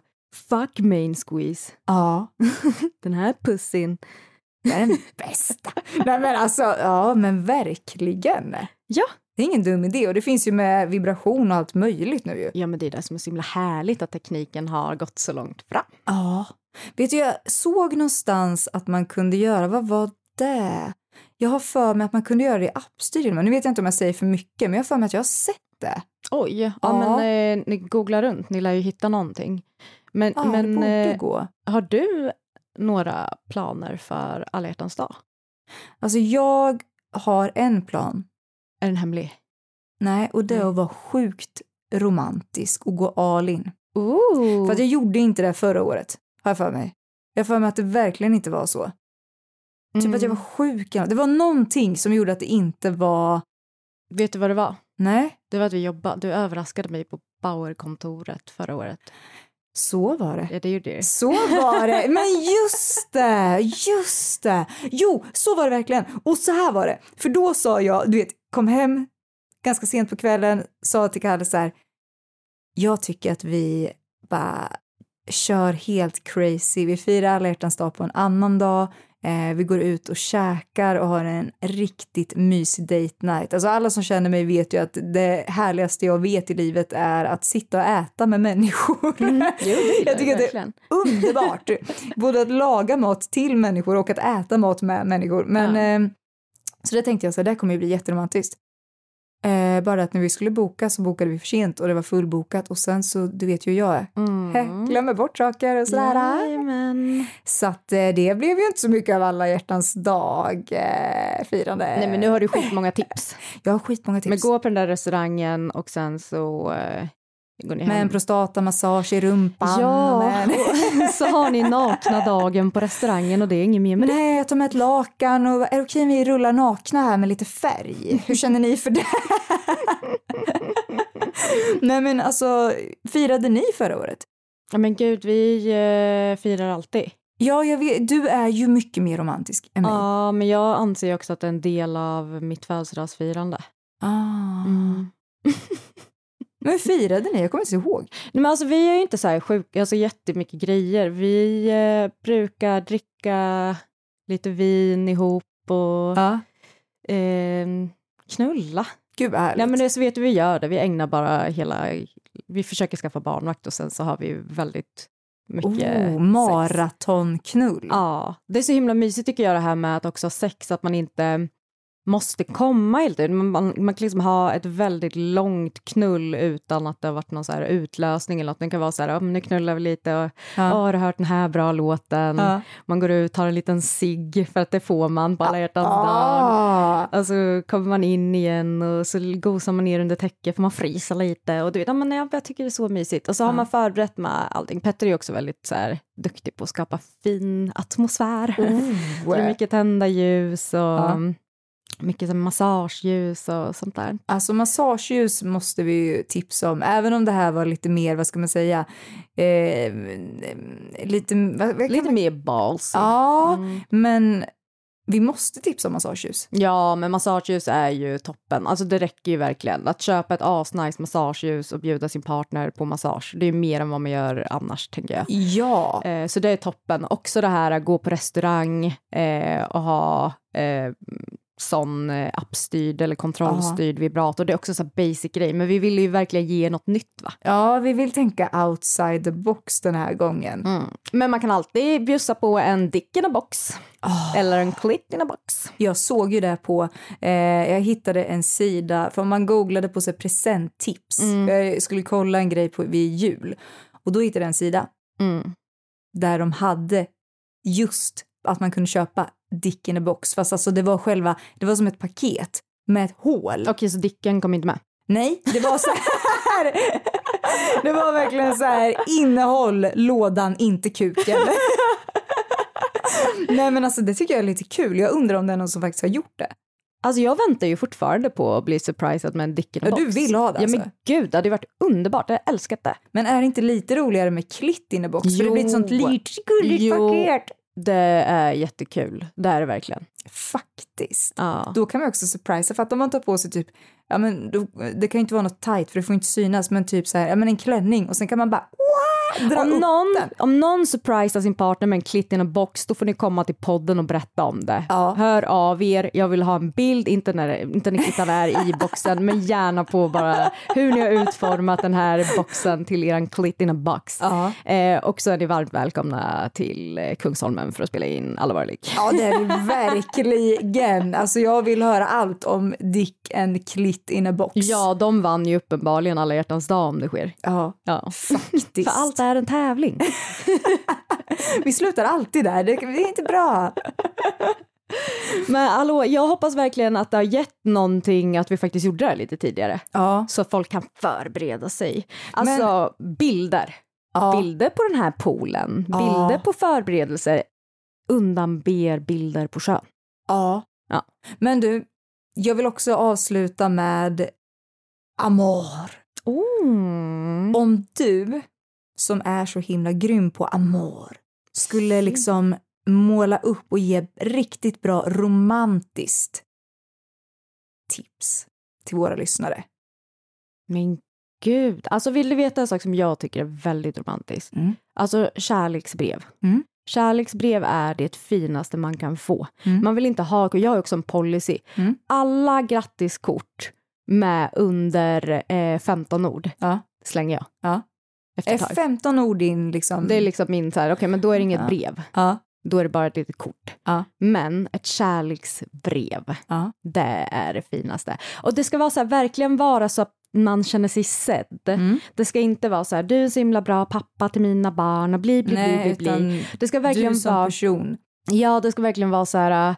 B: fuck main squeeze,
A: Ja,
B: den här pussin.
A: det är den bästa. Nej men alltså, ja men verkligen.
B: Ja.
A: Det är ingen dum idé och det finns ju med vibration och allt möjligt nu ju.
B: Ja men det är det som är så himla härligt att tekniken har gått så långt fram.
A: Ja. Vet du, jag såg någonstans att man kunde göra, vad var det? Jag har för mig att man kunde göra det i appstyr, men nu vet jag inte om jag säger för mycket, men jag har för mig att jag har sett det.
B: Oj, ja,
A: Ja.
B: men eh, ni googlar runt, ni lär ju hitta någonting. Men,
A: Ja, det
B: men
A: borde
B: eh,
A: gå.
B: har du några planer för alla hjärtans dag?
A: Alltså jag har en plan,
B: Är den hemlig?
A: nej, och det är
B: Nej.
A: att vara sjukt romantisk och gå all in.
B: Ooh.
A: För att jag gjorde inte det förra året, har jag för mig. Jag har för mig att det verkligen inte var så. Typ att jag
B: Mm.
A: var sjuk eller Det var någonting som gjorde att det inte var,
B: Vet du vad det var?
A: nej,
B: Det var att vi jobbade, du överraskade mig på Bauer-kontoret förra året.
A: så var det.
B: Ja, det gjorde du.
A: Så var det. Men just det, just det. Jo, så var det verkligen. Och så här var det. För då sa jag, du vet, kom hem ganska sent på kvällen, sa till Kalle så här, jag tycker att vi bara kör helt crazy. Vi firar alla hjärtans dag på en annan dag. Eh, vi går ut och käkar och har en riktigt mysig date night. Alltså alla som känner mig vet ju att det härligaste jag vet i livet är att sitta och äta med människor.
B: Mm.
A: Mm. jag tycker att det
B: verkligen.
A: underbart. Både att laga mat till människor och att äta mat med människor. Men, eh, så det tänkte jag, så här, det här kommer ju bli jätteromantiskt. Eh, bara att när vi skulle boka så bokade vi för sent och det var fullbokat och sen så, du vet ju hur jag är.
B: Mm.
A: Heh, glömmer bort saker och sådär.
B: Jajamän.
A: Så att eh, det blev ju inte så mycket av alla hjärtans dag-firande.
B: Nej men nu har du skitmånga tips.
A: Jag har skitmånga Eh, tips.
B: Men gå på den där restaurangen och sen så eh, går ni hem.
A: Med en prostatamassage i rumpan. eh,
B: Ja,
A: och med en-
B: så har ni nakna dagen på restaurangen och det är inget mer med det.
A: Nej, jag tar med ett lakan och är det okej om vi rullar nakna här med lite färg? Hur känner ni för det? Nej men alltså, firade ni förra året?
B: Ja, Men gud, vi eh, firar alltid.
A: Ja, jag vet, du är ju mycket mer romantisk än mig.
B: Ja, men jag anser ju också att det är en del av mitt födelsedagsfirande.
A: Ah.
B: Mm.
A: Men hur firade ni? Jag kommer inte ihåg.
B: Nej, men alltså, vi är ju inte så här sjuka, alltså jättemycket grejer. Vi eh, brukar dricka lite vin ihop och
A: Ja.
B: ehm, knulla.
A: Gud vad härligt.
B: Nej, men det är så vet du vi gör det. Vi ägnar bara hela... Vi försöker skaffa barnvakt och sen så har vi ju väldigt mycket
A: oh,
B: sex.
A: maratonknull.
B: Ja, det är så himla mysigt tycker jag det här med att också ha sex, att man inte måste komma helt ut. Man, man, man kan liksom ha ett väldigt långt knull utan att det har varit någon så här utlösning eller något. Det kan vara så här, "Ja, men nu knullar vi lite och
A: Ja.
B: ja. har du hört den här bra låten?
A: Ja.
B: Man går ut, tar en liten cigg för att det får man på alla hjärtans dag.
A: Ah.
B: Alltså kommer man in igen och så gosar man ner under täcket för man fryser lite och du vet, ja, men jag, jag tycker det är så mysigt. Och så har man förberett med allting. Petter är också väldigt så här, duktig på att skapa fin atmosfär. Så det är mycket tända ljus och
A: Oh. Ja.
B: mm, mycket så här, massageljus och sånt där.
A: Alltså massageljus måste vi ju tipsa om, även om det här var lite mer, vad ska man säga, eh, lite, Mm. vad, vad kan
B: Lite
A: man-
B: mer balls.
A: Ja, men Vi måste tipsa om massageljus.
B: Ja, men massageljus är ju toppen. Alltså det räcker ju verkligen. Att köpa ett asnice massageljus och bjuda sin partner på massage, det är ju mer än vad man gör annars, tänker jag.
A: Ja,
B: Eh, så det är toppen. Också det här att gå på restaurang eh, och ha eh, sån eh, appstyrd eller kontrollstyrd vibrator. Det är också så här basic grej, men vi vill ju verkligen ge något nytt, va?
A: ja vi vill tänka outside the box den här gången.
B: Men man kan alltid bjussa på en dick in a box eller en clit in a box.
A: Jag såg ju det på, eh, jag hittade en sida, för om man googlade på så här, presenttips, jag skulle kolla en grej på, vid jul, och då hittade jag en sida
B: Mm.
A: där de hade just att man kunde köpa Dick in a box, fast alltså det var själva, det var som ett paket med ett hål.
B: Okej, så dicken kom inte med.
A: Nej, det var så här. Det var verkligen så här innehåll, lådan, inte kuken. Nej men alltså det tycker jag är lite kul. Jag undrar om det är någon som faktiskt har gjort det.
B: Alltså jag väntar ju fortfarande på att bli surprised med en dick in a
A: Ja,
B: box.
A: du vill ha det
B: Ja
A: alltså?
B: men gud, det hade ju varit underbart. Jag hade älskat det.
A: Men är det inte lite roligare med klitt in i box? För det
B: Jo.
A: blir ett sånt litet gulligt
B: Jo.
A: paket.
B: Det är jättekul. Det är det verkligen.
A: Faktiskt.
B: Ja.
A: Då kan man också surprisa, för att om man tar på sig typ, ja men då, det kan ju inte vara något tight för det får inte synas, men typ så här, ja men en klänning och sen kan man bara wow, dra
B: Om
A: upp
B: någon,
A: den.
B: om någon surprisar sin partner med en klitt in a box, då får ni komma till podden och berätta om det.
A: Ja.
B: Hör av er, jag vill ha en bild, inte när, inte när klittan är i boxen, men gärna på bara hur ni har utformat den här boxen till er klitt in a box.
A: Ja.
B: Eh, och så är ni varmt välkomna till eh, Kungsholmen för att spela in alla våra lik.
A: Ja det är det verkligen. Alltså jag vill höra allt om Dick and Clit in a box.
B: Ja, de vann ju uppenbarligen alla hjärtans dag om det sker.
A: ja
B: Ja.
A: faktiskt.
B: För allt är en tävling.
A: Vi slutar alltid där, det, det är inte bra.
B: Men hallå, jag hoppas verkligen att det har gett någonting att vi faktiskt gjorde det här lite tidigare.
A: Ja.
B: Så att folk kan förbereda sig. Alltså bilder. Bilder på den här poolen,
A: Ja.
B: bilder på förberedelser. Undanber bilder på sjön.
A: Ja.
B: Ja.
A: Men du, jag vill också avsluta med Amor.
B: Mm.
A: Om du, som är så himla grym på amor,
B: Mm.
A: skulle liksom måla upp och ge riktigt bra romantiskt tips till våra lyssnare.
B: Men gud, alltså vill du veta en sak som jag tycker är väldigt romantisk?
A: Mm.
B: Alltså kärleksbrev.
A: Mm.
B: Kärleksbrev är det finaste man kan få.
A: Mm.
B: Man vill inte ha, och jag har också en policy,
A: Mm.
B: alla grattiskort med under eh, 15 ord
A: Ja.
B: slänger jag.
A: Ja.
B: Efter
A: Är
B: ett tag.
A: 15 ord din liksom...
B: Det är liksom min så här, okej men då är det inget
A: Ja.
B: brev,
A: Ja,
B: då är det bara ett litet kort.
A: Ja.
B: Men ett kärleksbrev,
A: ja,
B: det är det finaste. Och det ska vara så här, verkligen vara så att man känner sig sedd.
A: Mm.
B: Det ska inte vara så här, du är så himla bra pappa till mina barn och bli, bli,
A: Nej,
B: bli, bli, bli.
A: utan
B: Det ska verkligen
A: du som
B: vara
A: person.
B: Ja, det ska verkligen vara så här,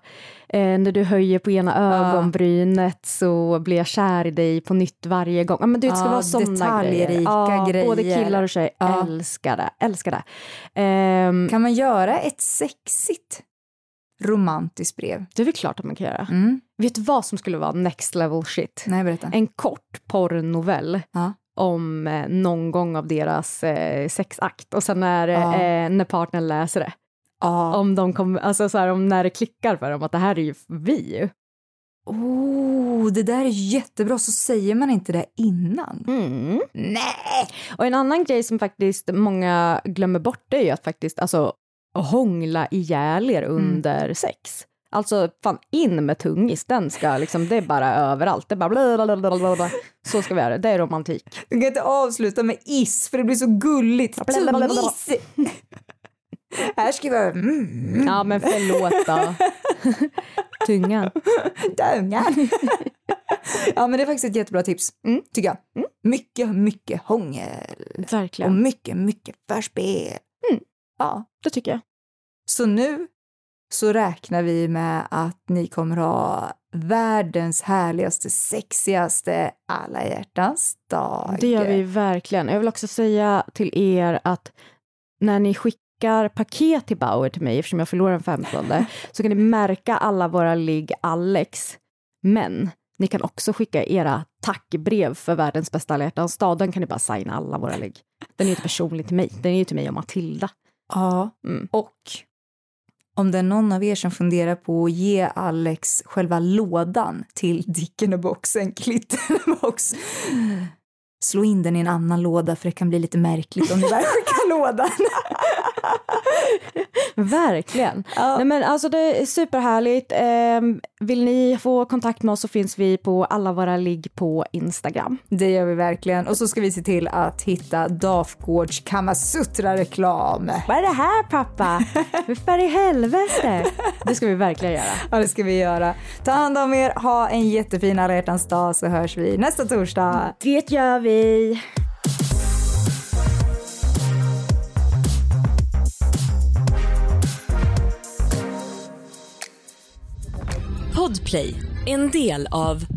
B: eh, när du höjer på ena
A: Ja.
B: ögonbrynet så blir jag kär i dig på nytt varje gång. Ja, men du vet, det ska
A: Ja,
B: vara sådana grejer.
A: detaljrika grejer.
B: Både killar och tjejer
A: Ja.
B: älskar det. Älskar det. Ehm,
A: Kan man göra ett sexigt romantiskt brev?
B: det är väl klart att man kan göra.
A: Mm.
B: Vet du vad som skulle vara next level shit?
A: Nej, berätta.
B: En kort porrnovell
A: Ja.
B: om eh, någon gång av deras eh, sexakt och sen när,
A: Ja.
B: eh, när partnern läser det.
A: Ja.
B: Om de kommer, alltså så här, om när det klickar för dem att det här är ju vi. ju.
A: Oh, det där är jättebra. Så säger man inte det innan. Nej!
B: Och en annan grej som faktiskt många glömmer bort det är ju att faktiskt alltså hångla ihjäl er
A: Mm.
B: under sex. Alltså fan in med tungis, den ska liksom, det är bara överallt, det är bara bla, bla, bla, bla, bla. Så ska vi göra det, det är romantik.
A: Du kan inte avsluta med is för det blir så gulligt.
B: Blablabla.
A: Tunis! Här ska vi mm,
B: Ja men förlåt då. Tungan.
A: döngan. ja men det är faktiskt ett jättebra tips Mm, tycker jag. Mycket, mycket hångel och
B: Verkligen,
A: mycket, mycket förspel. Ja,
B: det tycker jag.
A: så nu så räknar vi med att ni kommer ha världens härligaste, sexigaste alla hjärtans dag.
B: Det gör vi verkligen. Jag vill också säga till er att när ni skickar paket till Bauer till mig, eftersom jag förlorar den 15, så kan ni märka alla våra ligg Alex. Men ni kan också skicka era tackbrev för världens bästa alla hjärtans dag. Den kan ni bara signa alla våra ligg. Den är ju inte personlig till mig, den är ju till mig och Matilda.
A: Ja,
B: Mm.
A: och Om det är någon av er som funderar på att ge Alex själva lådan till Dick in a box, en Glitter in a box, slå in den i en annan låda för det kan bli lite märkligt om ni väl skickar lådan.
B: Verkligen. Nej, men alltså det är superhärligt. Ehm, vill ni få kontakt med oss så finns vi på alla våra ligg på Instagram.
A: Det gör vi verkligen. Och så ska vi se till att hitta Dafgårds Kamasutra-reklam.
B: Vad är det här pappa? För i helvete! Det ska vi verkligen göra.
A: Ja, det ska vi göra. Ta hand om er, ha en jättefin alla hjärtans dag så hörs vi nästa torsdag.
B: Det gör vi.
F: Podplay, en del av